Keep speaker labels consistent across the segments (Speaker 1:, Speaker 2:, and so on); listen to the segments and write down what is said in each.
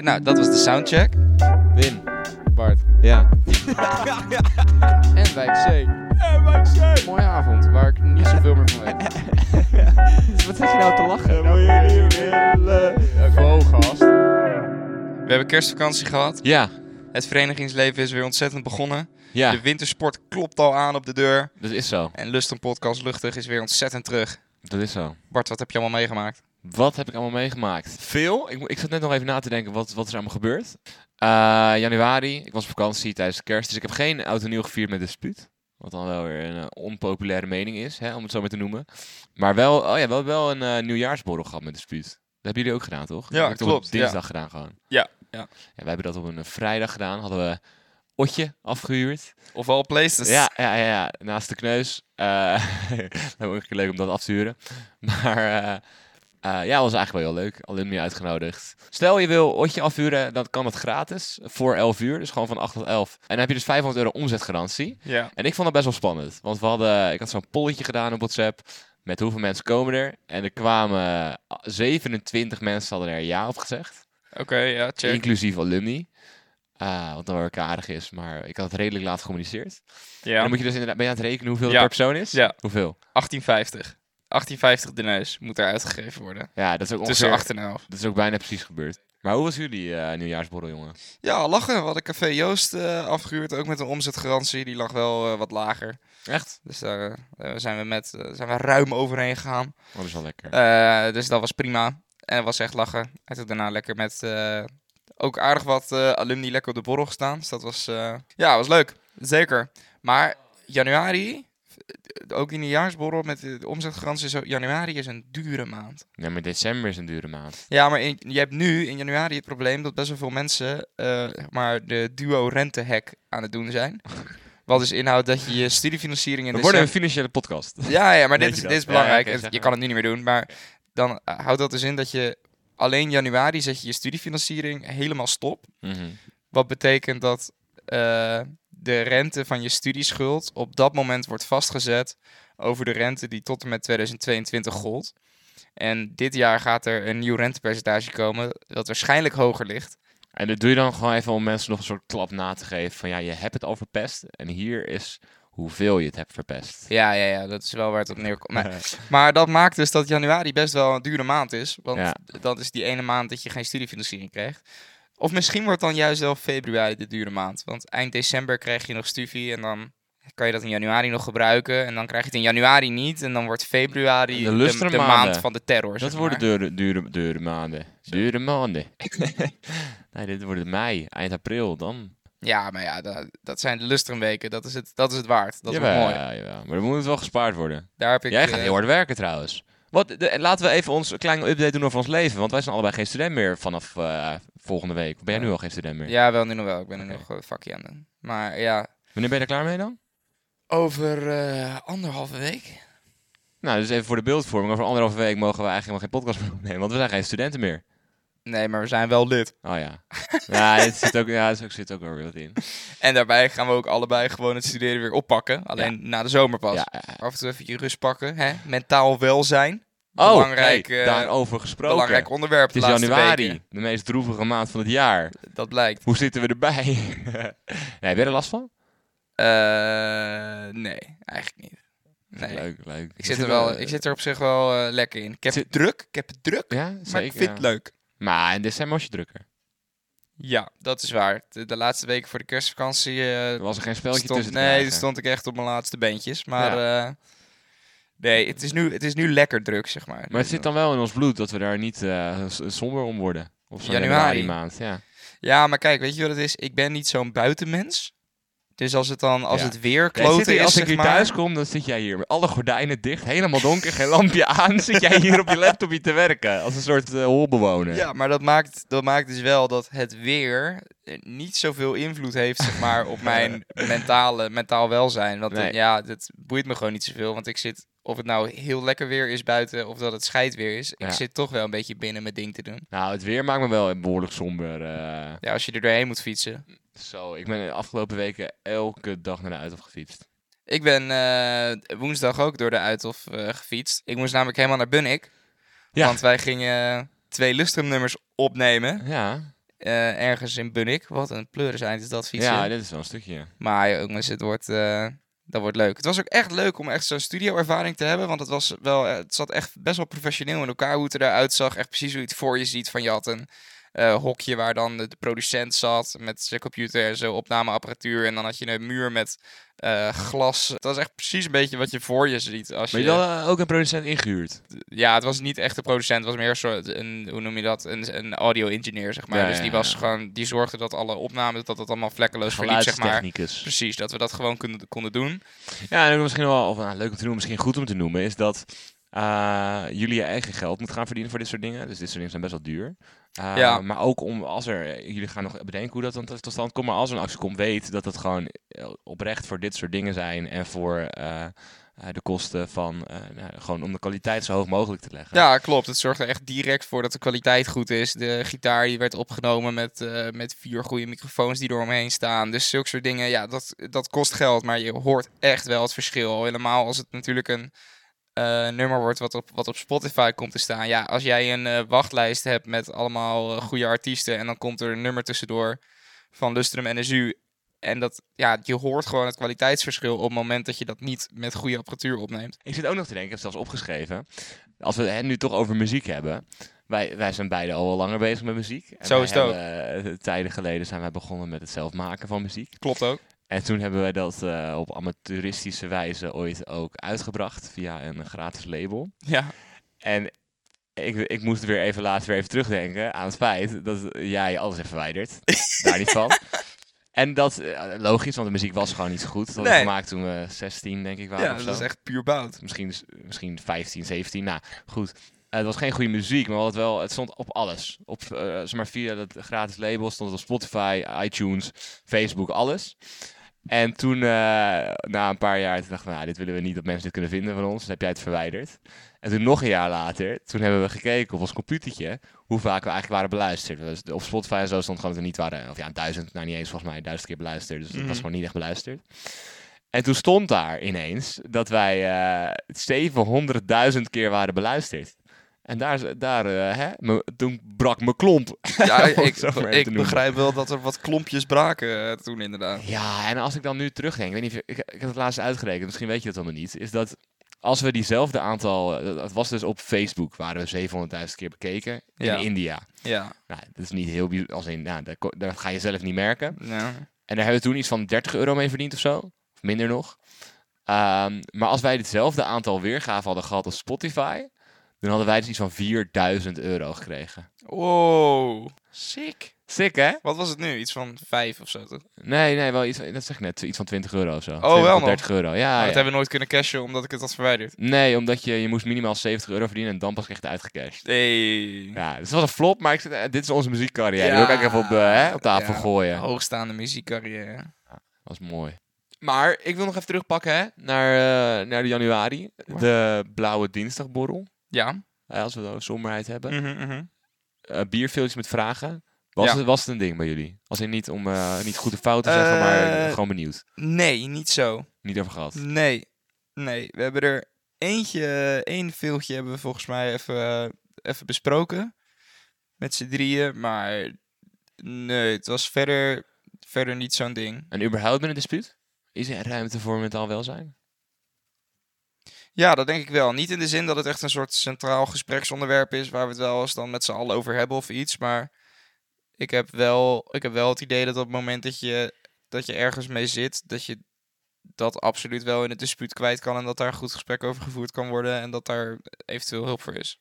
Speaker 1: nou, dat was de soundcheck.
Speaker 2: Wim. Bart.
Speaker 3: Ja.
Speaker 2: En wijk C. Een mooie avond, waar ik niet zoveel meer van weet.
Speaker 3: Wat zit je nou te lachen?
Speaker 2: Wow, gast.
Speaker 1: We hebben kerstvakantie gehad.
Speaker 3: Ja,
Speaker 1: Het verenigingsleven is weer ontzettend begonnen.
Speaker 3: ja,
Speaker 1: De wintersport klopt al aan op de deur.
Speaker 3: dat is zo.
Speaker 1: En Lust en Podcast Luchtig is weer ontzettend terug.
Speaker 3: Dat is zo.
Speaker 1: Bart, wat heb je allemaal meegemaakt?
Speaker 3: Wat heb ik allemaal meegemaakt? Veel. Ik, mo- ik zat net nog even na te denken, wat, wat is er allemaal gebeurd? Eh, januari, ik was op vakantie tijdens de kerst, dus ik heb geen oud en nieuw gevierd met dispuut. Wat dan wel weer een eh, onpopulaire mening is, hè, om het zo maar te noemen. Maar wel, oh ja, wel, wel een eh, nieuwjaarsborrel gehad met dispuut. Dat hebben jullie ook gedaan, toch?
Speaker 1: Ja,
Speaker 3: Dat heb ik toch
Speaker 1: klopt,
Speaker 3: Op
Speaker 1: ja.
Speaker 3: dinsdag gedaan gewoon.
Speaker 1: Ja, ja.
Speaker 3: wij hebben dat op een eh, vrijdag gedaan. Hadden we Otje afgehuurd.
Speaker 1: Of al places?
Speaker 3: Ja, ja, ja, ja, naast de kneus. Eh dat was ook leuk om dat af te huren. Maar eh, eh, ja, was eigenlijk wel heel leuk. Alumni uitgenodigd. Stel je wil Otje afhuren, dan kan het gratis. Voor 11 uur, dus gewoon van 8 tot 11. En dan heb je dus 500 euro omzetgarantie.
Speaker 1: Ja.
Speaker 3: En ik vond dat best wel spannend. Want we hadden, ik had zo'n polletje gedaan op WhatsApp. Met hoeveel mensen komen er? En er kwamen eh, 27 mensen hadden er ja op gezegd.
Speaker 1: Oké, ja, check.
Speaker 3: Inclusief alumni. Ah, wat dan wel weer aardig is. Maar ik had het redelijk laat gecommuniceerd. En
Speaker 1: Ja.
Speaker 3: dan moet je dus inderdaad, ben je aan het rekenen hoeveel
Speaker 1: Ja.
Speaker 3: er per persoon is?
Speaker 1: Ja.
Speaker 3: Hoeveel?
Speaker 1: 1850. 1850 de neus moet daar uitgegeven worden.
Speaker 3: Ja, dat is ook
Speaker 1: Tussen
Speaker 3: ongeveer,
Speaker 1: 8 en 11.
Speaker 3: dat is ook bijna precies gebeurd. Maar hoe was jullie eh, nieuwjaarsborrel, jongen?
Speaker 1: Ja, lachen. We hadden Café Joost eh, afgehuurd. Ook met een omzetgarantie. Die lag wel eh, wat lager.
Speaker 3: Echt?
Speaker 1: Dus daar eh, zijn, we met, eh, zijn we ruim overheen gegaan.
Speaker 3: Oh, dat is wel lekker.
Speaker 1: Eh, dus dat was prima. En het was echt lachen. En toen daarna lekker met eh, ook aardig wat eh, alumni lekker op de borrel gestaan. Dus dat was, eh, ja, was leuk. Zeker. Maar januari, eh, ook in de jaarsborrel met de omzetgarantie, zo, januari is een dure maand.
Speaker 3: Ja, maar december is een dure maand.
Speaker 1: Ja, maar in- je hebt nu in januari het probleem dat best wel veel mensen eh, zeg maar de duo rentehack aan het doen zijn. Wat dus inhoudt dat je je studiefinanciering in
Speaker 3: We
Speaker 1: december...
Speaker 3: worden een financiële podcast.
Speaker 1: Ja, ja maar
Speaker 3: Weet
Speaker 1: dit is,
Speaker 3: je dat?
Speaker 1: dit is
Speaker 3: Ja,
Speaker 1: belangrijk.
Speaker 3: oké,
Speaker 1: Het-
Speaker 3: zeg
Speaker 1: je
Speaker 3: maar.
Speaker 1: kan het nu niet meer doen. Maar dan eh, houdt dat dus in dat je alleen januari zet je je studiefinanciering helemaal stop.
Speaker 3: Mhm.
Speaker 1: Wat betekent dat eh, de rente van je studieschuld op dat moment wordt vastgezet over de rente die tot en met 2022 gold. En dit jaar gaat er een nieuw rentepercentage komen dat waarschijnlijk hoger ligt.
Speaker 3: En dat doe je dan gewoon even om mensen nog een soort klap na te geven. Van ja, je hebt het al verpest. En hier is hoeveel je het hebt verpest.
Speaker 1: Ja, ja, ja, dat is wel waar het op neerkomt. Nee. Maar dat maakt dus dat januari best wel een dure maand is. Want
Speaker 3: Ja.
Speaker 1: dat is die ene maand dat je geen studiefinanciering krijgt. Of misschien wordt dan juist wel februari de dure maand. Want eind december krijg je nog studie en dan kan je dat in januari nog gebruiken. En dan krijg je het in januari niet. En dan wordt februari
Speaker 3: De
Speaker 1: de, de,
Speaker 3: lustere
Speaker 1: maand
Speaker 3: maanden.
Speaker 1: van de terror.
Speaker 3: Dat
Speaker 1: zeg
Speaker 3: worden
Speaker 1: maar.
Speaker 3: dure, dure, dure maanden. Dure maanden. nee, dit wordt mei, eind april. Dan
Speaker 1: Ja, maar ja, dat, dat zijn de lustere weken. Dat is het, dat is het waard. Dat
Speaker 3: Jawel,
Speaker 1: is mooi.
Speaker 3: ja, jawel. Maar dan moet het wel gespaard worden.
Speaker 1: Daar heb ik,
Speaker 3: Jij gaat
Speaker 1: eh,
Speaker 3: heel hard werken trouwens. Wat, de- en laten we even ons een kleine update doen over ons leven. Want wij zijn allebei geen student meer vanaf eh, volgende week. Of Ben jij nu al geen student meer?
Speaker 1: Ja, wel nu nog wel. Ik ben er
Speaker 3: Oké.
Speaker 1: nog een vakje aan het doen. Maar ja,
Speaker 3: Wanneer ben je er klaar mee dan?
Speaker 1: over eh, anderhalve week.
Speaker 3: Nou, dus even voor de beeldvorming. Over anderhalve week mogen we eigenlijk helemaal geen podcast meer opnemen. Want we zijn geen studenten meer.
Speaker 1: Nee, maar we zijn wel lid.
Speaker 3: Oh ja. ja, het zit ook, ja, het zit ook wel weer wat in.
Speaker 1: En daarbij gaan we ook allebei gewoon het studeren weer oppakken. Alleen na de zomer pas.
Speaker 3: Ja, ja.
Speaker 1: Af en toe even je rust pakken. Hè? Mentaal welzijn.
Speaker 3: Oh,
Speaker 1: Belangrijk,
Speaker 3: hey,
Speaker 1: eh,
Speaker 3: daarover gesproken.
Speaker 1: Belangrijk onderwerp.
Speaker 3: het is
Speaker 1: de laatste
Speaker 3: januari,
Speaker 1: weken.
Speaker 3: de meest droevige maand van het jaar.
Speaker 1: Dat blijkt.
Speaker 3: Hoe zitten we erbij? nee, heb je er last van?
Speaker 1: Eh, nee, eigenlijk niet. Nee.
Speaker 3: Leuk, leuk.
Speaker 1: Ik zit, er wel, ik zit er op zich wel eh, lekker in. Ik heb
Speaker 3: zit-
Speaker 1: het druk. Ik heb het druk.
Speaker 3: Ja,
Speaker 1: Maar ik vind
Speaker 3: ja.
Speaker 1: het leuk.
Speaker 3: Maar in december was je drukker.
Speaker 1: Ja, dat is waar. De, de laatste weken voor de kerstvakantie. eh,
Speaker 3: Er was er geen spelletje
Speaker 1: stond-
Speaker 3: tussen te
Speaker 1: nee,
Speaker 3: krijgen.
Speaker 1: stond ik echt op mijn laatste beentjes. Maar eh, nee, het is, nu, het is nu lekker druk, zeg maar.
Speaker 3: Maar het zit dan wel in ons bloed dat we daar niet eh, s- somber om worden. Of zo'n
Speaker 1: Januari.
Speaker 3: januari. maand, ja.
Speaker 1: Ja, maar kijk, weet je wat het is? Ik ben niet zo'n buitenmens. Dus als het dan, als
Speaker 3: Ja.
Speaker 1: het weer
Speaker 3: Jij zit
Speaker 1: kloten
Speaker 3: hier,
Speaker 1: is,
Speaker 3: als ik
Speaker 1: zeg
Speaker 3: hier
Speaker 1: maar...
Speaker 3: thuis kom, dan zit jij hier met alle gordijnen dicht, helemaal donker, geen lampje aan. Zit jij hier op je laptopje te werken, als een soort eh, holbewoner.
Speaker 1: Ja, maar dat maakt, dat maakt dus wel dat het weer eh, niet zoveel invloed heeft, zeg maar, op mijn mentale, mentaal welzijn. Want eh,
Speaker 3: Nee.
Speaker 1: ja, dat boeit me gewoon niet zoveel, want ik zit... Of het nou heel lekker weer is buiten, of dat het scheid weer is. Ik
Speaker 3: Ja.
Speaker 1: zit toch wel een beetje binnen mijn ding te doen.
Speaker 3: Nou, het weer maakt me wel behoorlijk somber. eh.
Speaker 1: Ja, als je er doorheen moet fietsen.
Speaker 3: Zo, ik ben de afgelopen weken elke dag naar de Uithof gefietst.
Speaker 1: Ik ben eh, woensdag ook door de Uithof eh, gefietst. Ik moest namelijk helemaal naar Bunnik.
Speaker 3: Ja.
Speaker 1: Want wij gingen eh, twee Lustrum nummers opnemen.
Speaker 3: Ja,
Speaker 1: eh, ergens in Bunnik. Wat een pleuriseind is dat fietsen.
Speaker 3: Ja, dit is wel een stukje. ja.
Speaker 1: Maar jongens, het wordt, eh, dat wordt leuk. Het was ook echt leuk om echt zo'n studioervaring te hebben. Want het, was wel, eh, het zat echt best wel professioneel in elkaar hoe het eruit zag. Echt precies hoe je het voor je ziet. Van je had een eh, hokje waar dan de de producent zat met zijn computer en zijn opnameapparatuur. En dan had je een muur met eh, glas. Het was echt precies een beetje wat je voor je ziet. Als
Speaker 3: Maar
Speaker 1: je,
Speaker 3: je had eh, ook een producent ingehuurd.
Speaker 1: Ja, het was niet echt een producent. Het was meer een soort, een, hoe noem je dat, een, een audio-engineer, zeg maar.
Speaker 3: Ja,
Speaker 1: dus
Speaker 3: ja,
Speaker 1: die, was
Speaker 3: ja.
Speaker 1: Gewoon, die zorgde dat alle opnames, dat dat allemaal vlekkeloos verliep, zeg maar.
Speaker 3: Geluidstechnicus.
Speaker 1: Precies, dat we dat gewoon konden, konden doen.
Speaker 3: Ja, en ook misschien wel, of nou, leuk om te noemen, misschien goed om te noemen, is dat eh, jullie je eigen geld moet gaan verdienen voor dit soort dingen. Dus dit soort dingen zijn best wel duur. Eh,
Speaker 1: Ja.
Speaker 3: Maar ook om, als er, jullie gaan nog bedenken hoe dat dan tot tot stand komt, maar als er een actie komt, weet dat het gewoon eh, oprecht voor dit soort dingen zijn en voor eh, eh, de kosten van, eh, nou, gewoon om de kwaliteit zo hoog mogelijk te leggen.
Speaker 1: Ja, klopt. Het zorgt er echt direct voor dat de kwaliteit goed is. De gitaar die werd opgenomen met, eh, met vier goede microfoons die er omheen staan. Dus zulke soort dingen, ja, dat, dat kost geld. Maar je hoort echt wel het verschil. Helemaal als het natuurlijk een eh, nummer wordt wat op, wat op Spotify komt te staan. Ja, als jij een eh, wachtlijst hebt met allemaal eh, goede artiesten... en dan komt er een nummer tussendoor van Lustrum NSU... En dat, ja, je hoort gewoon het kwaliteitsverschil op het moment dat je dat niet met goede apparatuur opneemt.
Speaker 3: Ik zit ook nog te denken, ik heb het zelfs opgeschreven. Als we het nu toch over muziek hebben. Wij, wij zijn beide al wel langer bezig met muziek. En
Speaker 1: Zo
Speaker 3: wij
Speaker 1: is het ook.
Speaker 3: hebben, eh, tijden geleden zijn wij begonnen met het zelf maken van muziek.
Speaker 1: Klopt ook.
Speaker 3: En toen hebben wij dat eh, op amateuristische wijze ooit ook uitgebracht via een gratis label.
Speaker 1: Ja,
Speaker 3: En ik, ik moest weer even later weer even terugdenken aan het feit dat jij alles hebt verwijderd. Daar niet van. En dat, eh, logisch, want de muziek was gewoon niet zo goed. Dat hadden we
Speaker 1: Nee.
Speaker 3: gemaakt toen we 16, denk ik, waren.
Speaker 1: ja
Speaker 3: of
Speaker 1: dat
Speaker 3: zo
Speaker 1: is echt puur bout.
Speaker 3: misschien, misschien 15, 17. Nou, goed. Eh, het was geen goede muziek, maar wat wel, het stond op alles. Op, eh, zeg maar via dat gratis label stond het op Spotify, iTunes, Facebook, alles. En toen, eh, na een paar jaar, toen dachten we, nou, dit willen we niet dat mensen dit kunnen vinden van ons. Dus heb jij het verwijderd. En toen nog een jaar later, toen hebben we gekeken op ons computertje hoe vaak we eigenlijk waren beluisterd. Dus op Spotify en zo stond gewoon dat we niet waren, of ja, duizend, nou niet eens volgens mij, duizend keer beluisterd. Dus dat
Speaker 1: Mhm.
Speaker 3: was gewoon niet echt beluisterd. En toen stond daar ineens dat wij eh 700.000 keer waren beluisterd. En daar, daar eh, hè, me- toen brak mijn klomp.
Speaker 1: Ja,
Speaker 3: Om het
Speaker 1: ik,
Speaker 3: zo maar even te
Speaker 1: ik
Speaker 3: noemen.
Speaker 1: begrijp wel dat er wat klompjes braken eh, toen inderdaad.
Speaker 3: Ja, en als ik dan nu terugdenk, ik weet niet of je- ik, ik heb het laatst uitgerekend, misschien weet je dat allemaal niet, is dat als we diezelfde aantal, eh, dat dat was dus op Facebook, waren we 700.000 keer bekeken in
Speaker 1: Ja.
Speaker 3: India.
Speaker 1: Ja.
Speaker 3: Nou, dat is niet heel bijzonder, als in, nou, daar, ko- daar ga je zelf niet merken.
Speaker 1: ja.
Speaker 3: En daar hebben we toen iets van 30 euro mee verdiend of zo. Of minder nog. Ehm, maar als wij hetzelfde aantal weergaven hadden gehad als Spotify, dan hadden wij dus iets van 4000 euro gekregen.
Speaker 1: Wow. Sick.
Speaker 3: Sick, hè?
Speaker 1: Wat was het nu? Iets van vijf of zo, toch?
Speaker 3: Nee, nee, wel iets, dat zeg ik net, iets van 20 euro of zo.
Speaker 1: Oh, wel
Speaker 3: 20 of
Speaker 1: nog. Oh,
Speaker 3: 30 euro, ja.
Speaker 1: maar
Speaker 3: ja.
Speaker 1: dat hebben we nooit kunnen cashen omdat ik het had verwijderd.
Speaker 3: Nee, omdat je, je moest minimaal 70 euro verdienen en dan pas kreeg je het uitgecashed.
Speaker 1: Nee.
Speaker 3: Ja, dus het was een flop, maar ik, zei, eh, dit is onze muziekcarrière. Die wil ik
Speaker 1: Ja.
Speaker 3: ook even op, eh, hè, op tafel
Speaker 1: Ja.
Speaker 3: gooien.
Speaker 1: Hoogstaande muziekcarrière.
Speaker 3: Dat is mooi. Maar ik wil nog even terugpakken hè, naar, eh, naar de januari. De blauwe dinsdagborrel.
Speaker 1: Ja.
Speaker 3: Eh, als we dan somberheid hebben.
Speaker 1: Mhm, mhm.
Speaker 3: Eh bierveeltjes met vragen. Was,
Speaker 1: Ja.
Speaker 3: het, was het een ding bij jullie? Als in niet om eh, niet goed of fout te zeggen, maar
Speaker 1: Eh,
Speaker 3: gewoon benieuwd.
Speaker 1: Nee, niet zo.
Speaker 3: Niet over gehad.
Speaker 1: Nee. Nee. We hebben er eentje, één filmpje hebben we volgens mij even, eh, even besproken. Met z'n drieën. Maar nee, het was verder, verder niet zo'n ding.
Speaker 3: En überhaupt binnen dispuut? Is er ruimte voor mentaal welzijn?
Speaker 1: Ja, dat denk ik wel. Niet in de zin dat het echt een soort centraal gespreksonderwerp is waar we het wel eens dan met z'n allen over hebben of iets. Maar ik heb wel, ik heb wel het idee dat op het moment dat je, dat je ergens mee zit, dat je dat absoluut wel in het dispuut kwijt kan. En dat daar een goed gesprek over gevoerd kan worden. En dat daar eventueel hulp voor is.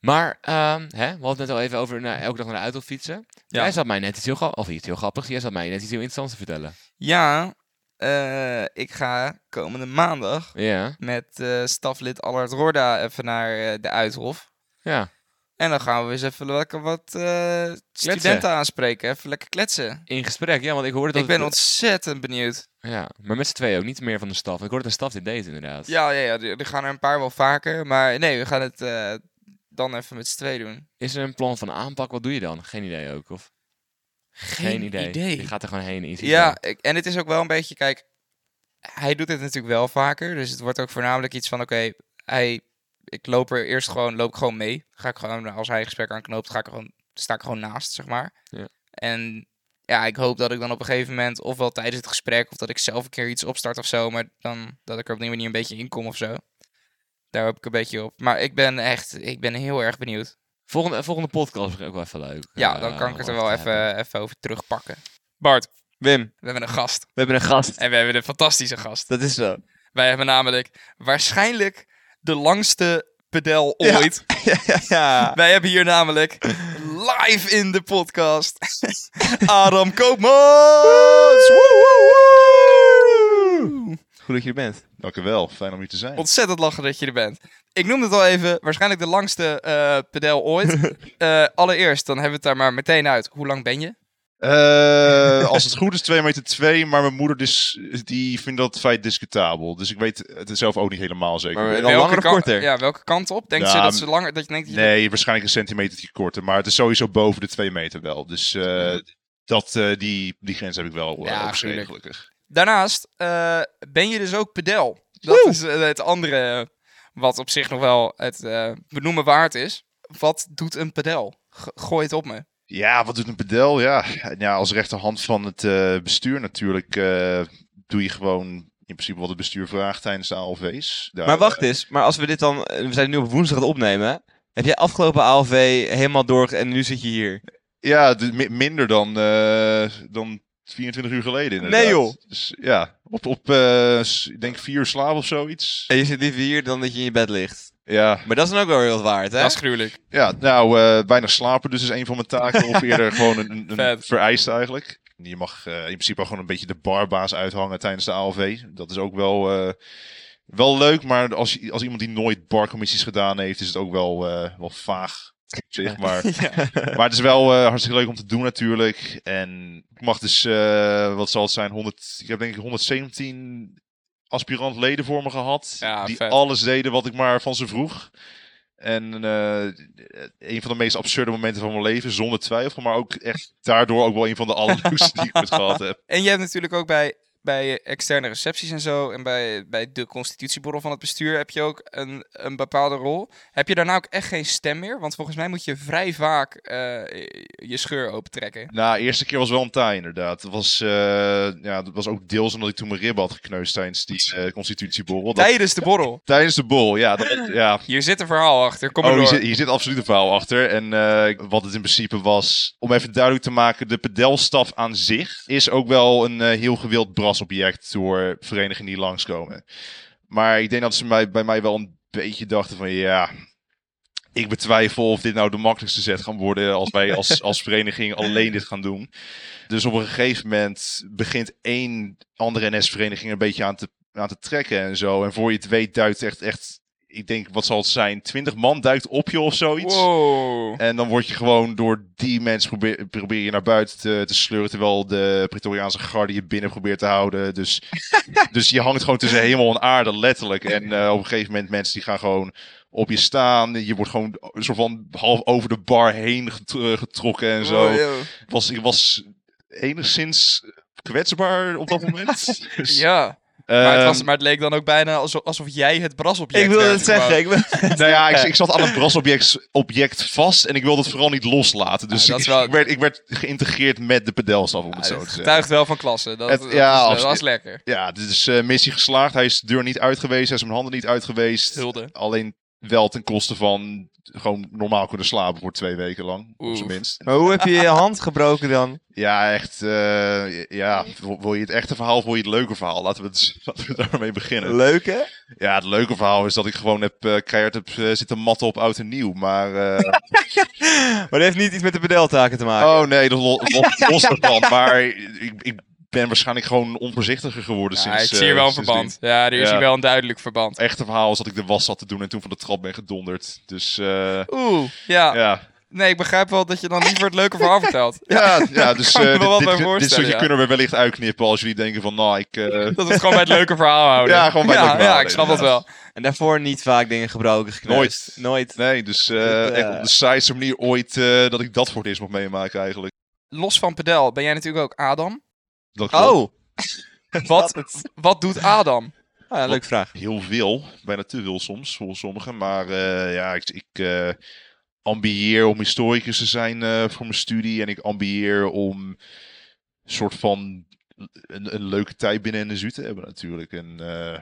Speaker 3: Maar, ehm, hè, we hadden het net al even over nou, elke dag naar de auto fietsen.
Speaker 1: Ja.
Speaker 3: Jij zat mij net iets heel, grap- of iets heel grappigs, jij zat mij net iets heel interessants te vertellen.
Speaker 1: Ja, eh, ik ga komende maandag
Speaker 3: Ja,
Speaker 1: met eh, staflid Allard Rorda even naar eh, de Uithof.
Speaker 3: ja.
Speaker 1: En dan gaan we eens even lekker wat eh, studenten aanspreken. Even lekker kletsen.
Speaker 3: In gesprek, ja, want ik hoorde dat...
Speaker 1: Ik ben
Speaker 3: het-
Speaker 1: ontzettend benieuwd.
Speaker 3: Ja, maar met z'n tweeën ook, niet meer van de staf. Ik hoorde dat de staf dit deed inderdaad.
Speaker 1: Ja, ja, ja. Er er gaan er een paar wel vaker. Maar nee, we gaan het eh, dan even met z'n twee doen.
Speaker 3: Is er een plan van aanpak? Wat doe je dan? Geen idee ook, of? Geen, idee. Je gaat er gewoon heen in.
Speaker 1: Ja, ik- en het is ook wel een beetje, kijk, hij doet dit natuurlijk wel vaker. Dus het wordt ook voornamelijk iets van, oké, hij, ik loop er eerst gewoon, loop ik gewoon mee. Ga ik gewoon, als hij een gesprek aanknoopt, ga ik er gewoon, sta ik er gewoon naast, zeg maar.
Speaker 3: Ja.
Speaker 1: En ja, ik hoop dat ik dan op een gegeven moment, ofwel tijdens het gesprek, of dat ik zelf een keer iets opstart of zo, maar dan dat ik er op die manier een beetje in kom of zo. Daar hoop ik een beetje op. Maar ik ben echt, ik ben heel erg benieuwd.
Speaker 3: Volgende, volgende podcast is ook wel even leuk.
Speaker 1: Ja,
Speaker 3: eh,
Speaker 1: dan kan ik
Speaker 3: om
Speaker 1: het er
Speaker 3: over
Speaker 1: wel
Speaker 3: te hebben.
Speaker 1: even, even over terugpakken. Bart,
Speaker 3: Wim,
Speaker 1: we hebben een gast.
Speaker 3: we hebben een gast.
Speaker 1: En we hebben een fantastische gast.
Speaker 3: Dat is zo.
Speaker 1: Wij hebben namelijk waarschijnlijk de langste pedel
Speaker 3: Ja.
Speaker 1: ooit.
Speaker 3: ja.
Speaker 1: Wij hebben hier namelijk live in de podcast Adam Koopmans. Woe, woe, woe.
Speaker 3: Goed dat je er bent.
Speaker 4: Dankjewel, fijn om hier te zijn.
Speaker 1: Ontzettend lachen dat je er bent. Ik noemde het al even, waarschijnlijk de langste eh pedel ooit. Eh, allereerst, dan hebben we het daar maar meteen uit. Hoe lang ben je?
Speaker 4: Eh, als het goed is 2 meter 2, maar mijn moeder dus, die vindt dat feit discutabel. Dus ik weet het zelf ook niet helemaal zeker.
Speaker 3: Maar- En dan
Speaker 1: Welke
Speaker 3: langer of
Speaker 1: kan-
Speaker 3: korter?
Speaker 1: Ja, welke kant op? Denk je
Speaker 4: Ja,
Speaker 1: dat ze langer, dat je denkt... dat je-
Speaker 4: nee, waarschijnlijk een centimeter korter, maar het is sowieso boven de 2 meter wel. Dus eh, dat, eh, die, die grens heb ik wel eh,
Speaker 1: Ja,
Speaker 4: opgeschreven,
Speaker 1: gelukkig.
Speaker 4: gelukkig.
Speaker 1: Daarnaast eh, ben je dus ook pedel. Dat is eh, het andere eh, wat op zich nog wel het eh, benoemen waard is. Wat doet een pedel? G- gooi het op me.
Speaker 4: Ja, wat doet een pedel? Ja, ja als rechterhand van het eh, bestuur natuurlijk eh, doe je gewoon in principe wat het bestuur vraagt tijdens de ALV's. Daar-
Speaker 3: Maar wacht eens, maar als we dit dan... eh, We zijn nu op woensdag aan het opnemen. Heb jij afgelopen ALV helemaal door en nu zit je hier?
Speaker 4: Ja, d- mi- minder dan, eh, dan 24 uur geleden inderdaad.
Speaker 3: Nee, joh.
Speaker 4: Dus, ja, op, op eh, s- ik denk vier uur slaap of zoiets.
Speaker 3: En je zit liever hier dan dat je in je bed ligt.
Speaker 4: Ja,
Speaker 3: Maar dat is dan ook wel heel wat waard, hè?
Speaker 1: Dat is gruwelijk.
Speaker 4: ja nou, eh, weinig slapen dus is een van mijn taken. Of eerder gewoon een, een- een
Speaker 1: Vet.
Speaker 4: vereiste eigenlijk. Je mag eh, in principe ook gewoon een beetje de barbaas uithangen tijdens de ALV. Dat is ook wel, eh, wel leuk, maar als, je- als iemand die nooit barcommissies gedaan heeft, is het ook wel, eh, wel vaag. op zich, maar Maar het is wel eh, hartstikke leuk om te doen natuurlijk. En ik mag dus, eh, wat zal het zijn, 100, ik heb denk ik 117 aspirant leden voor me gehad.
Speaker 1: Ja,
Speaker 4: die
Speaker 1: vet.
Speaker 4: alles deden wat ik maar van ze vroeg. En eh, een van de meest absurde momenten van mijn leven, zonder twijfel. Maar ook echt daardoor ook wel een van de allerleukste die ik ooit gehad heb.
Speaker 1: En je hebt natuurlijk ook bij, bij externe recepties en zo... en bij, bij de constitutieborrel van het bestuur heb je ook een, een bepaalde rol. Heb je daarna ook echt geen stem meer? Want volgens mij moet je vrij vaak eh, je scheur opentrekken.
Speaker 4: Nou, de eerste keer was wel een taai inderdaad. Dat was, eh, ja, dat was ook deels omdat ik toen mijn ribben had gekneusd tijdens die eh, constitutieborrel. Dat-
Speaker 1: Tijdens de borrel.
Speaker 4: tijdens de bol, ja. Dat, ja,
Speaker 1: Hier zit een verhaal achter, kom maar
Speaker 4: oh,
Speaker 1: door.
Speaker 4: hier zit, hier zit absoluut een verhaal achter. En eh, wat het in principe was, om even duidelijk te maken, de pedelstaf aan zich is ook wel een eh, heel gewild brasobject door verenigingen die langskomen. Maar ik denk dat ze mij, bij mij wel een beetje dachten van ja, ik betwijfel of dit nou de makkelijkste zet gaan worden als wij als, als vereniging alleen dit gaan doen. Dus op een gegeven moment begint één andere NS-vereniging een beetje aan te, aan te trekken en zo. En voor je het weet duikt echt, echt, ik denk wat zal het zijn, 20 man duikt op je of zoiets.
Speaker 1: Wow.
Speaker 4: En dan word je gewoon door die mensen probeer, probeer je naar buiten te, te sleuren. Terwijl de Pretoriaanse garde je binnen probeert te houden. Dus, dus je hangt gewoon tussen hemel en aarde, letterlijk. En eh, op een gegeven moment mensen die gaan gewoon op je staan. Je wordt gewoon een soort van half over de bar heen get- eh, getrokken en zo.
Speaker 1: Oh, joh.
Speaker 4: Ik was, ik was enigszins kwetsbaar op dat moment. Dus,
Speaker 1: Ja. Maar het, was,
Speaker 4: ehm,
Speaker 1: maar het leek dan ook bijna alsof, alsof jij het brasobject
Speaker 3: Ik wilde
Speaker 1: werd
Speaker 3: het zeggen.
Speaker 1: gewoon.
Speaker 3: Ik wil...
Speaker 4: Nou ja, ik, ik zat aan het brasobject object vast en ik wilde het vooral niet loslaten. Dus
Speaker 1: Ah, dat is
Speaker 4: ik,
Speaker 1: wel- Ah,
Speaker 4: ik werd, ik werd geïntegreerd met de pedelstaf, om het
Speaker 1: Ja,
Speaker 4: zo
Speaker 1: het
Speaker 4: te zeggen.
Speaker 1: getuigt wel van klasse. Dat,
Speaker 4: Het-
Speaker 1: dat
Speaker 4: ja,
Speaker 1: is- dat
Speaker 4: absoluut.
Speaker 1: was lekker.
Speaker 4: Ja, dit is eh, missie geslaagd. Hij is de deur niet uit geweest, hij is mijn handen niet uit geweest.
Speaker 1: Hulde.
Speaker 4: Alleen wel ten koste van gewoon normaal kunnen slapen voor twee weken lang, op zijn
Speaker 1: Oef.
Speaker 4: minst.
Speaker 3: Maar hoe heb je je hand gebroken dan?
Speaker 4: Ja, echt. eh, ja, wil wil je het echte verhaal of wil je het leuke verhaal? Laten we, het, laten we daarmee beginnen.
Speaker 3: Leuk, hè?
Speaker 4: Ja, het leuke verhaal is dat ik gewoon heb, eh keihard heb eh, zitten matten op oud en nieuw. Maar, eh,
Speaker 3: Maar dat heeft niet iets met de bedeltaken te maken.
Speaker 4: oh nee, dat lo- lo- los ervan. Maar ik, ik ben waarschijnlijk gewoon onvoorzichtiger geworden
Speaker 1: Ja,
Speaker 4: sinds...
Speaker 1: ik
Speaker 4: eh,
Speaker 1: zie hier wel een
Speaker 4: sindsdien.
Speaker 1: verband. Ja, er is
Speaker 4: Ja.
Speaker 1: hier wel een duidelijk verband.
Speaker 4: Het echte verhaal is dat ik de was zat te doen en toen van de trap ben gedonderd. Dus eh,
Speaker 1: Oeh, ja.
Speaker 4: ja.
Speaker 1: Nee, ik begrijp wel dat je dan liever het leuke verhaal vertelt.
Speaker 4: Ja, ja, dus
Speaker 1: kan
Speaker 4: eh,
Speaker 1: me wel
Speaker 4: dit-
Speaker 1: bij
Speaker 4: dit, dit,
Speaker 1: voorstellen,
Speaker 4: stukje
Speaker 1: ja.
Speaker 4: kunnen we wellicht uitknippen als jullie denken van, nou, ik... eh,
Speaker 1: Dat we het gewoon bij het leuke verhaal houden.
Speaker 4: Ja, gewoon bij het
Speaker 1: ja,
Speaker 4: leuke verhaal
Speaker 1: Ja, ik snap dat
Speaker 4: houden,
Speaker 1: wel.
Speaker 3: En daarvoor niet vaak dingen gebroken, gekneusd. Oh. Nooit.
Speaker 4: nee, dus eh,
Speaker 3: Ja.
Speaker 4: echt op de saaiste manier ooit eh, dat ik dat voor het eerst mag meemaken eigenlijk.
Speaker 1: Los van pedel ben jij natuurlijk ook Adam.
Speaker 4: Dat klopt.
Speaker 3: Oh,
Speaker 1: Wat, wat doet Adam?
Speaker 3: ah, leuke vraag.
Speaker 4: heel veel, bijna te veel soms, volgens sommigen. Maar eh, ja, ik, ik eh, ambieer om historicus te zijn eh, voor mijn studie. En ik ambieer om een soort van een, een leuke tijd binnen in de zuur te hebben natuurlijk. En eh,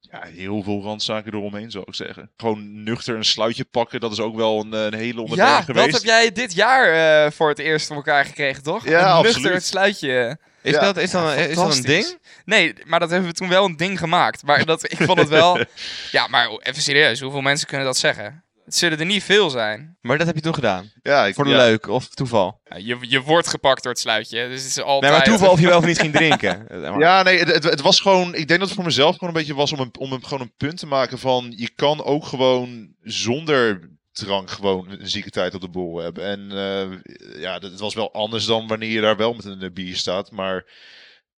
Speaker 4: ja, heel veel randzaken eromheen zou ik zeggen. Gewoon nuchter een sluitje pakken, dat is ook wel een, een hele onderneming
Speaker 1: Ja, dat
Speaker 4: geweest.
Speaker 1: heb jij dit jaar eh, voor het eerst voor elkaar gekregen, toch?
Speaker 4: Ja,
Speaker 1: een
Speaker 4: absoluut.
Speaker 1: nuchter het sluitje.
Speaker 3: Is,
Speaker 4: Ja.
Speaker 3: dat, is, dan, is dat een
Speaker 1: Fantastisch.
Speaker 3: ding?
Speaker 1: Nee, maar dat hebben we toen wel een ding gemaakt. Maar dat, ik vond het wel... Ja, maar even serieus, hoeveel mensen kunnen dat zeggen? Het zullen er niet veel zijn.
Speaker 3: Maar dat heb je toen gedaan.
Speaker 4: Ja, ik,
Speaker 3: Voor de
Speaker 4: ja.
Speaker 3: leuk of toeval.
Speaker 1: Ja, je, je wordt gepakt door het sluitje, dus het is altijd...
Speaker 3: Nee, maar toeval of je wel of niet ging drinken. Eh, maar-
Speaker 4: Ja, nee, het, het- het was gewoon. Ik denk dat het voor mezelf gewoon een beetje was om, een, om een, gewoon een punt te maken van. Je kan ook gewoon zonder drank gewoon een zieke tijd op de bol hebben. En eh, ja, dat- het was wel anders dan wanneer je daar wel met een eh, bier staat. Maar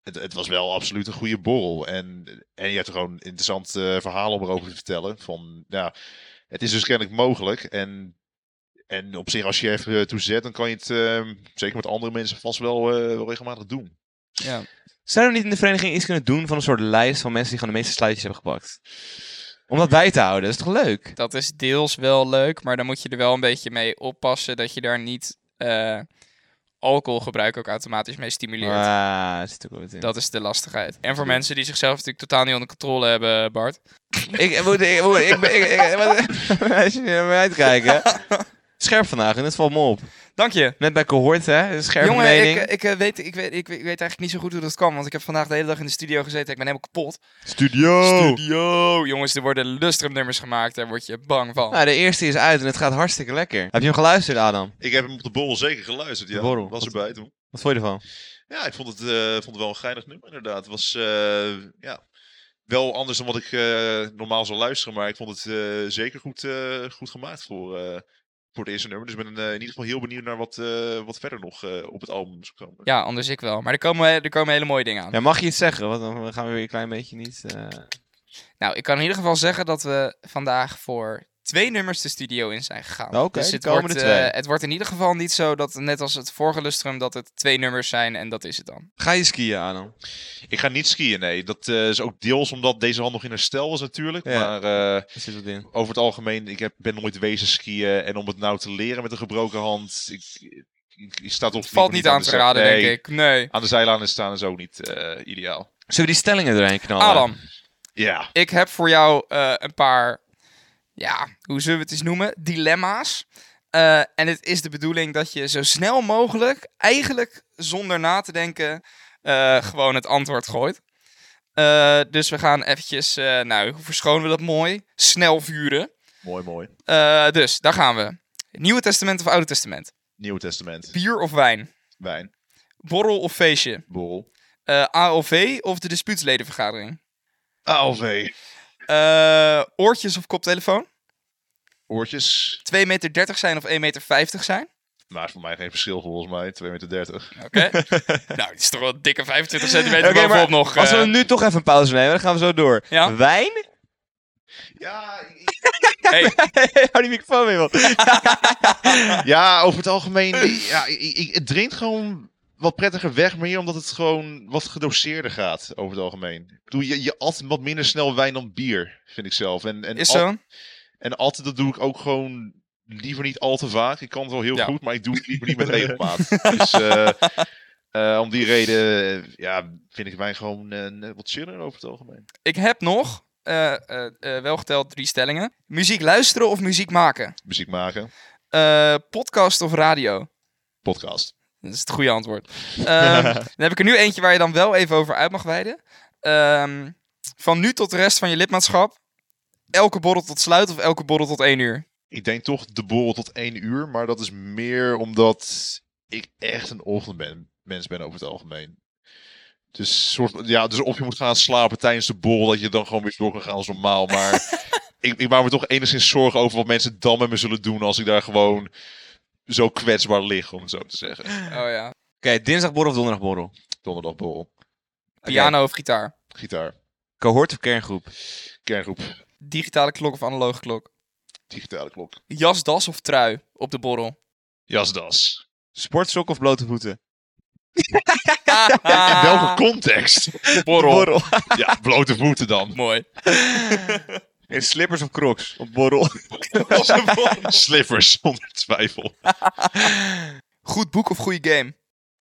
Speaker 4: het, het was wel absoluut een goede borrel. En, en je hebt er gewoon interessant eh, verhaal om erover te vertellen. Van ja, het is dus kennelijk mogelijk. En. En op zich, als je even eh, toe zet, dan kan je het eh, zeker met andere mensen vast wel, eh, wel regelmatig doen.
Speaker 1: Ja.
Speaker 3: Zou er niet in de vereniging iets kunnen doen van een soort lijst van mensen die gewoon de meeste sluitjes hebben gepakt? Om dat bij te houden, dat is toch leuk?
Speaker 1: Dat is deels wel leuk, maar dan moet je er wel een beetje mee oppassen dat je daar niet eh, alcoholgebruik ook automatisch mee stimuleert.
Speaker 3: Ah, dat zit ook wel wat in.
Speaker 1: Dat is de lastigheid. En voor mensen die zichzelf natuurlijk totaal niet onder controle hebben, Bart.
Speaker 3: Ik eh, moet, ik moet, ik ben, ik, ik, wat- als je niet naar mij uitkijken. Scherp vandaag en het valt me op.
Speaker 1: Dank je.
Speaker 3: Net bij cohort, hè? Scherp
Speaker 1: Jongen,
Speaker 3: mening.
Speaker 1: ik, ik, eh, weet, ik, weet, ik, weet eigenlijk niet zo goed hoe dat kan, want ik heb vandaag de hele dag in de studio gezeten. Ik ben helemaal kapot.
Speaker 3: Studio.
Speaker 1: Studio! Jongens, er worden lustrumnummers gemaakt, daar word je bang van.
Speaker 3: Nou, de eerste is uit en het gaat hartstikke lekker. Heb je hem geluisterd, Adam?
Speaker 4: Ik heb hem op de borrel zeker geluisterd.
Speaker 3: De
Speaker 4: Ja,
Speaker 3: borrel.
Speaker 4: was erbij toen.
Speaker 3: Wat vond je ervan?
Speaker 4: Ja, ik vond het, eh, vond het wel een geinig nummer inderdaad. Het was eh, ja, wel anders dan wat ik eh, normaal zou luisteren. Maar ik vond het eh, zeker goed, eh, goed gemaakt voor, eh, voor het eerste nummer. Dus ik ben eh, in ieder geval heel benieuwd naar wat, eh, wat verder nog eh, op het album zou komen.
Speaker 1: Ja, anders ik wel. Maar er komen, eh, er komen hele mooie dingen aan.
Speaker 3: Ja, mag je iets zeggen? Want dan gaan we weer een klein beetje niet... eh,
Speaker 1: Nou, ik kan in ieder geval zeggen dat we vandaag voor twee nummers de studio in zijn gegaan.
Speaker 3: Oké,
Speaker 1: dus
Speaker 3: die
Speaker 1: het
Speaker 3: komen
Speaker 1: wordt,
Speaker 3: er
Speaker 1: eh,
Speaker 3: twee.
Speaker 1: het wordt in ieder geval niet zo dat, net als het vorige lustrum, dat het twee nummers zijn en dat is het dan.
Speaker 3: Ga je skiën, Adam?
Speaker 4: Ik ga niet skiën, nee. Dat eh, is ook deels omdat deze hand nog in herstel was natuurlijk.
Speaker 3: Ja.
Speaker 4: Maar eh,
Speaker 3: Er zit wat in.
Speaker 4: over het algemeen, ik heb, ben nooit wezen skiën. En om het nou te leren met een gebroken hand... Ik, ik, ik sta toch
Speaker 1: Valt niet aan
Speaker 4: de
Speaker 1: te
Speaker 4: zij-
Speaker 1: raden,
Speaker 4: Nee,
Speaker 1: denk ik. Nee.
Speaker 4: Aan de zijlanen staan is ook niet eh, ideaal.
Speaker 3: Zullen we die stellingen erin knallen?
Speaker 1: Adam,
Speaker 4: Ja.
Speaker 1: ik heb voor jou eh, een paar, ja, hoe zullen we het eens noemen? Dilemma's. Eh, en het is de bedoeling dat je zo snel mogelijk, eigenlijk zonder na te denken, eh, gewoon het antwoord gooit. Eh, dus we gaan eventjes, eh, nou, hoe verschonen we dat mooi? Snel vuren.
Speaker 4: Mooi, mooi.
Speaker 1: Eh, dus, daar gaan we. Nieuwe Testament of Oude Testament?
Speaker 4: Nieuw Testament.
Speaker 1: Bier of wijn?
Speaker 4: Wijn.
Speaker 1: Borrel of feestje?
Speaker 4: Borrel.
Speaker 1: Eh, AOV of de dispuutsledenvergadering?
Speaker 4: ALV.
Speaker 1: Eh, oortjes of koptelefoon?
Speaker 4: Oortjes.
Speaker 1: 2,30 meter zijn of 1,50 meter zijn?
Speaker 4: Maar voor mij geen verschil volgens mij. 2,30 meter.
Speaker 1: Oké. nou, die is toch wel een dikke 25 centimeter
Speaker 3: Oké, maar
Speaker 1: bovenop nog.
Speaker 3: Als we
Speaker 1: eh.
Speaker 3: nu toch even een pauze nemen, dan gaan we zo door.
Speaker 1: Ja.
Speaker 3: Wijn?
Speaker 4: Ja,
Speaker 1: Hey,
Speaker 3: Hou die microfoon weer op.
Speaker 4: ja, over het algemeen. Ja, ik, ik- het drinkt gewoon wat prettiger weg. Meer omdat het gewoon wat gedoseerder gaat. Over het algemeen. Ik bedoel, je, je at wat minder snel wijn dan bier. Vind ik zelf. En, en
Speaker 1: is
Speaker 4: al-
Speaker 1: zo.
Speaker 4: En altijd, dat doe ik ook gewoon liever niet al te vaak. Ik kan het wel heel
Speaker 1: Ja.
Speaker 4: goed, maar ik doe het liever niet met regelmaat. dus eh, eh, om die reden eh, ja, vind ik mij gewoon eh, net wat chiller over het algemeen.
Speaker 1: Ik heb nog, eh, eh, eh, wel geteld drie stellingen. Muziek luisteren of muziek maken?
Speaker 4: Muziek maken,
Speaker 1: Eh, podcast of radio?
Speaker 4: podcast.
Speaker 1: Dat is het goede antwoord. Ehm, dan heb ik er nu eentje waar je dan wel even over uit mag wijden. Ehm, van nu tot de rest van je lidmaatschap. Elke borrel tot sluit of elke borrel tot één uur?
Speaker 4: Ik denk toch de borrel tot één uur, maar dat is meer omdat ik echt een ochtendmens ben over het algemeen. Dus, soort, ja, dus of je moet gaan slapen tijdens de borrel, dat je dan gewoon weer door kan gaan als normaal. Maar ik, ik maak me toch enigszins zorgen over wat mensen dan met me zullen doen als ik daar gewoon zo kwetsbaar lig, om het zo te zeggen.
Speaker 1: Oh ja.
Speaker 3: Oké, dinsdagborrel of donderdagborrel?
Speaker 4: Donderdagborrel,
Speaker 1: Piano of gitaar?
Speaker 4: gitaar,
Speaker 3: Cohort of kerngroep?
Speaker 4: kerngroep,
Speaker 1: Digitale klok of analoge klok?
Speaker 4: digitale klok,
Speaker 1: Jas, das of trui op de borrel?
Speaker 4: jasdas.
Speaker 3: Sportsok of blote voeten?
Speaker 4: In welke context?
Speaker 1: Ah. borrel?
Speaker 4: Ja, blote voeten dan.
Speaker 1: Mooi.
Speaker 3: Oké,
Speaker 5: In slippers of crocs? Op borrel.
Speaker 4: Slippers, zonder twijfel.
Speaker 1: Goed boek of goede game?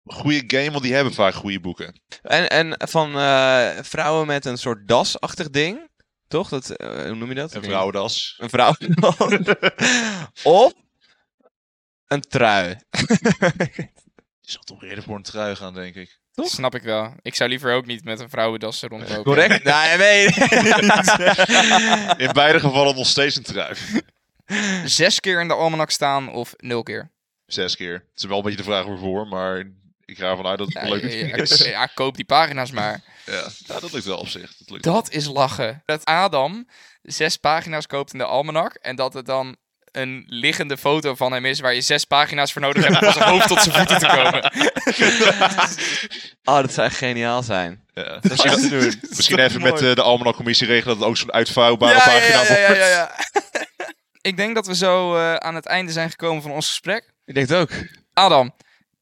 Speaker 4: Goede game, want die hebben vaak goede boeken.
Speaker 3: En, en van eh, vrouwen met een soort dasachtig ding. Toch? Dat, eh, hoe noem je dat?
Speaker 4: Een vrouwendas.
Speaker 3: Een vrouw. of een trui.
Speaker 4: Je zal toch eerder voor een trui gaan, denk ik.
Speaker 3: Toch?
Speaker 1: Snap ik wel. Ik zou liever ook niet met een vrouwendas rondlopen.
Speaker 3: Correct? Nee, nee.
Speaker 4: In beide gevallen nog steeds een trui.
Speaker 1: Zes keer in de almanak staan of nul keer?
Speaker 4: Zes keer. Het is wel een beetje de vraag waarvoor, maar ik ga ervan uit dat het
Speaker 1: Ja,
Speaker 4: een leuke
Speaker 1: ja,
Speaker 4: ding
Speaker 1: ja,
Speaker 4: is.
Speaker 1: ja, koop die pagina's maar.
Speaker 4: Ja. Ja, dat lukt wel op zich. Dat lukt
Speaker 1: Dat is lachen. Dat Adam zes pagina's koopt in de almanak en dat het dan een liggende foto van hem is waar je zes pagina's voor nodig hebt om van zijn hoofd tot zijn voeten te komen.
Speaker 3: Oh, dat zou echt geniaal zijn.
Speaker 4: wel. Ja.
Speaker 3: Dat is echt doen.
Speaker 4: Misschien even met eh, de Almanak-commissie regelen dat het ook zo'n uitvouwbare
Speaker 1: ja,
Speaker 4: pagina
Speaker 1: ja, ja,
Speaker 4: wordt.
Speaker 1: ja, ja. Ik denk dat we zo eh, aan het einde zijn gekomen van ons gesprek.
Speaker 3: Ik denk het ook.
Speaker 1: Adam,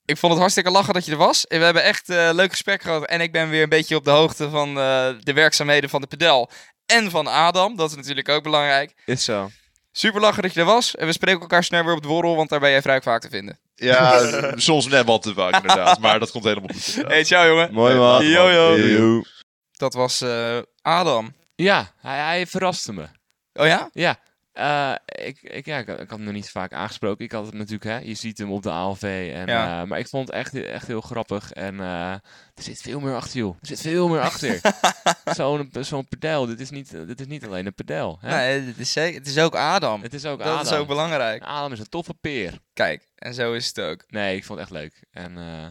Speaker 1: ik vond het hartstikke lachen dat je er was. En We hebben echt eh, een leuk gesprek gehad. En ik ben weer een beetje op de hoogte van eh, de werkzaamheden van de pedel. En van Adam, dat is natuurlijk ook belangrijk.
Speaker 3: Is zo.
Speaker 1: Super lachen dat je er was. En we spreken elkaar snel weer op de borrel, want daar ben jij vrij vaak te vinden.
Speaker 4: Ja, eh, soms net wat te vaak inderdaad, maar dat komt helemaal goed. inderdaad.
Speaker 1: Hey, ciao jongen.
Speaker 3: Mooi man.
Speaker 1: Yo, yo.
Speaker 3: Yo.
Speaker 1: Dat was eh, Adam.
Speaker 3: Ja, hij, hij verraste me.
Speaker 1: Oh ja?
Speaker 3: Ja, eh, ik, ik, ja ik, ik had hem nog niet vaak aangesproken. Ik had het natuurlijk, hè, je ziet hem op de ALV. En,
Speaker 1: Ja.
Speaker 3: eh, maar ik vond het echt, echt heel grappig. En eh, er zit veel meer achter, joh. Er zit veel meer achter. Zo'n zo'n pedel, dit is, niet, dit is niet alleen een pedel. Hè?
Speaker 1: Nee, het is, zeker- het is ook Adam.
Speaker 3: Het is ook
Speaker 1: dat
Speaker 3: Adam.
Speaker 1: is ook belangrijk.
Speaker 3: Adam is een toffe peer.
Speaker 1: Kijk, en zo is het ook.
Speaker 3: Nee, ik vond het echt leuk. En eh,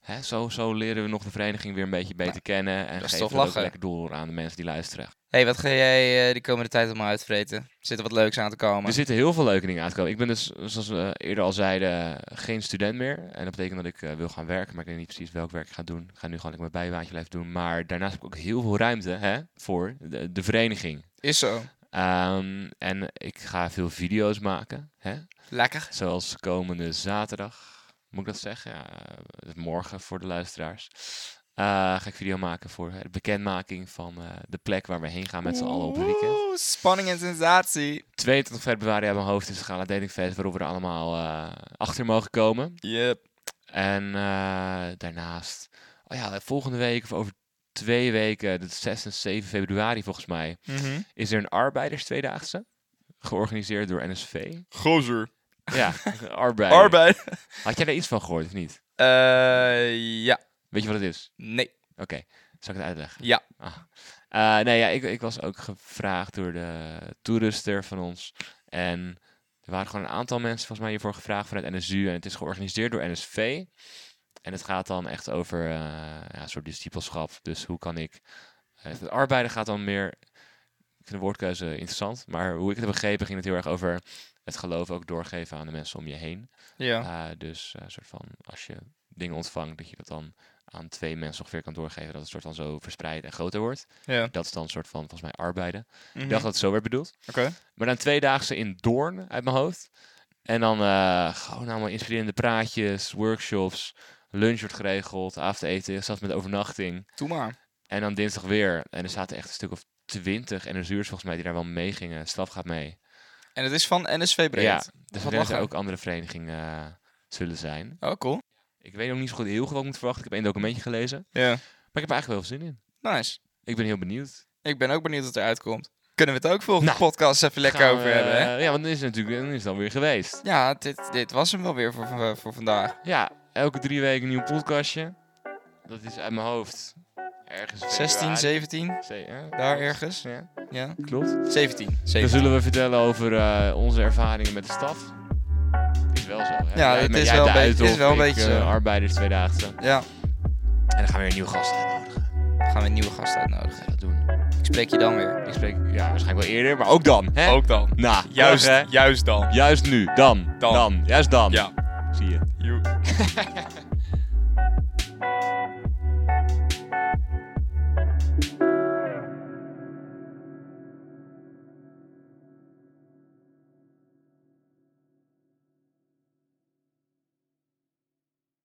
Speaker 3: hè, zo, zo leren we nog de vereniging weer een beetje beter kennen. En
Speaker 1: Nou, dat is
Speaker 3: geven
Speaker 1: toch
Speaker 3: we het ook
Speaker 1: lachen.
Speaker 3: lekker door aan de mensen die luisteren.
Speaker 1: hey, wat ga jij eh de komende tijd allemaal uitvreten? Zit er wat leuks aan te komen?
Speaker 3: Er zitten heel veel leuke dingen aan te komen. Ik ben dus, zoals we eerder al zeiden, geen student meer. En dat betekent dat ik eh, wil gaan werken, maar ik weet niet precies welk werk ik ga doen. Ik ga nu gewoon lekker mijn bijbaantje blijven doen. Maar daarnaast heb ik ook heel veel ruimte hè, voor de, de vereniging.
Speaker 1: Is zo.
Speaker 3: Ehm, en ik ga veel video's maken. Hè?
Speaker 1: Lekker.
Speaker 3: Zoals komende zaterdag, moet ik dat zeggen? Ja, eh, dat is morgen voor de luisteraars. Eh, ga ik video maken voor de bekendmaking van eh, de plek waar we heen gaan met z'n allen op het weekend.
Speaker 1: Oeh, spanning en sensatie.
Speaker 3: 22 februari aan mijn hoofd dus is Gala Dating Fest, waarop we er allemaal eh, achter mogen komen.
Speaker 1: Yep.
Speaker 3: En eh, daarnaast, oh ja, volgende week of over twee weken, de 6 en 7 februari volgens mij,
Speaker 1: Mhm.
Speaker 3: is er een arbeiders tweedaagse. Georganiseerd door NSV.
Speaker 1: Gozer.
Speaker 3: Ja, arbeider.
Speaker 1: Arbeid.
Speaker 3: Had jij daar iets van gehoord of niet?
Speaker 1: Eh, ja.
Speaker 3: Weet je wat het is?
Speaker 1: Nee.
Speaker 3: Oké, zal ik het uitleggen?
Speaker 1: Ja.
Speaker 3: Ah. Eh, nee, ja, ik, ik was ook gevraagd door de toeruster van ons. En er waren gewoon een aantal mensen volgens mij hiervoor gevraagd vanuit NSU. En het is georganiseerd door NSV. En het gaat dan echt over eh, ja, een soort discipelschap. Dus hoe kan ik... eh, het arbeiden gaat dan meer... Ik vind de woordkeuze interessant. Maar hoe ik het heb begrepen ging het heel erg over het geloof ook doorgeven aan de mensen om je heen.
Speaker 1: Ja.
Speaker 3: Eh, dus eh, een soort van als je dingen ontvangt, dat je dat dan aan twee mensen ongeveer kan doorgeven. Dat het soort van zo verspreid en groter wordt.
Speaker 1: Ja.
Speaker 3: Dat is dan een soort van volgens mij arbeiden.
Speaker 1: Mhm.
Speaker 3: Ik dacht dat het zo werd bedoeld.
Speaker 1: Oké.
Speaker 3: Maar dan tweedaagse in Doorn uit mijn hoofd. En dan eh, gewoon allemaal inspirerende praatjes, workshops. Lunch wordt geregeld, avondeten, zelfs met overnachting.
Speaker 1: Doe maar.
Speaker 3: En dan dinsdag weer. En er zaten echt een stuk of twintig NSU'ers volgens mij die daar wel mee gingen. Staf gaat mee. Dus
Speaker 1: En het is van NSV Breed.
Speaker 3: Ja, dus
Speaker 1: Wat
Speaker 3: er werden
Speaker 1: lachen.
Speaker 3: ook andere verenigingen eh, zullen zijn.
Speaker 1: Oh, cool.
Speaker 3: Ik weet nog niet zo goed heel goed wat ik moet verwachten. Ik heb één documentje gelezen.
Speaker 1: Ja.
Speaker 3: Maar ik heb er eigenlijk wel veel zin in.
Speaker 1: Nice.
Speaker 3: Ik ben heel benieuwd.
Speaker 1: Ik ben ook benieuwd wat eruit komt. Kunnen we het ook volgende
Speaker 3: Nou,
Speaker 1: podcast even lekker
Speaker 3: Gaan we,
Speaker 1: over hebben, hè?
Speaker 3: eh, Ja, want dan is het natuurlijk dan is het alweer geweest.
Speaker 1: Ja, dit, dit was hem wel weer voor, voor, voor vandaag.
Speaker 3: Ja, elke drie weken een nieuw podcastje. Dat is uit mijn hoofd. Ergens
Speaker 1: 16, 17, daar ergens.
Speaker 3: Ja,
Speaker 1: Ja.
Speaker 3: klopt.
Speaker 1: 17.
Speaker 3: Dan
Speaker 1: 17.
Speaker 3: zullen we vertellen over eh, onze ervaringen met de staf. Is wel zo. Hè?
Speaker 1: Ja,
Speaker 3: Jij-
Speaker 1: het
Speaker 3: maar
Speaker 1: is
Speaker 3: jij
Speaker 1: wel
Speaker 3: hebt de
Speaker 1: een beetje-
Speaker 3: Uithof,
Speaker 1: is wel een
Speaker 3: ik,
Speaker 1: beetje
Speaker 3: eh,
Speaker 1: zo.
Speaker 3: arbeiders tweedaagse.
Speaker 1: Ja.
Speaker 3: En dan gaan we weer een nieuwe gast uitnodigen.
Speaker 1: Dan gaan we een nieuwe gast
Speaker 3: Gaan
Speaker 1: uitnodigen.
Speaker 3: we dat doen.
Speaker 1: Ik spreek je dan weer.
Speaker 3: Ik spreek ja, waarschijnlijk wel eerder, maar ook dan. Hè?
Speaker 1: Ook dan.
Speaker 3: Nou,
Speaker 5: Juist,
Speaker 3: dag, hè?
Speaker 5: juist dan.
Speaker 3: Juist nu. Dan. Dan.
Speaker 5: Dan.
Speaker 3: Juist dan.
Speaker 5: Ja.
Speaker 3: Zie je.
Speaker 5: Joe.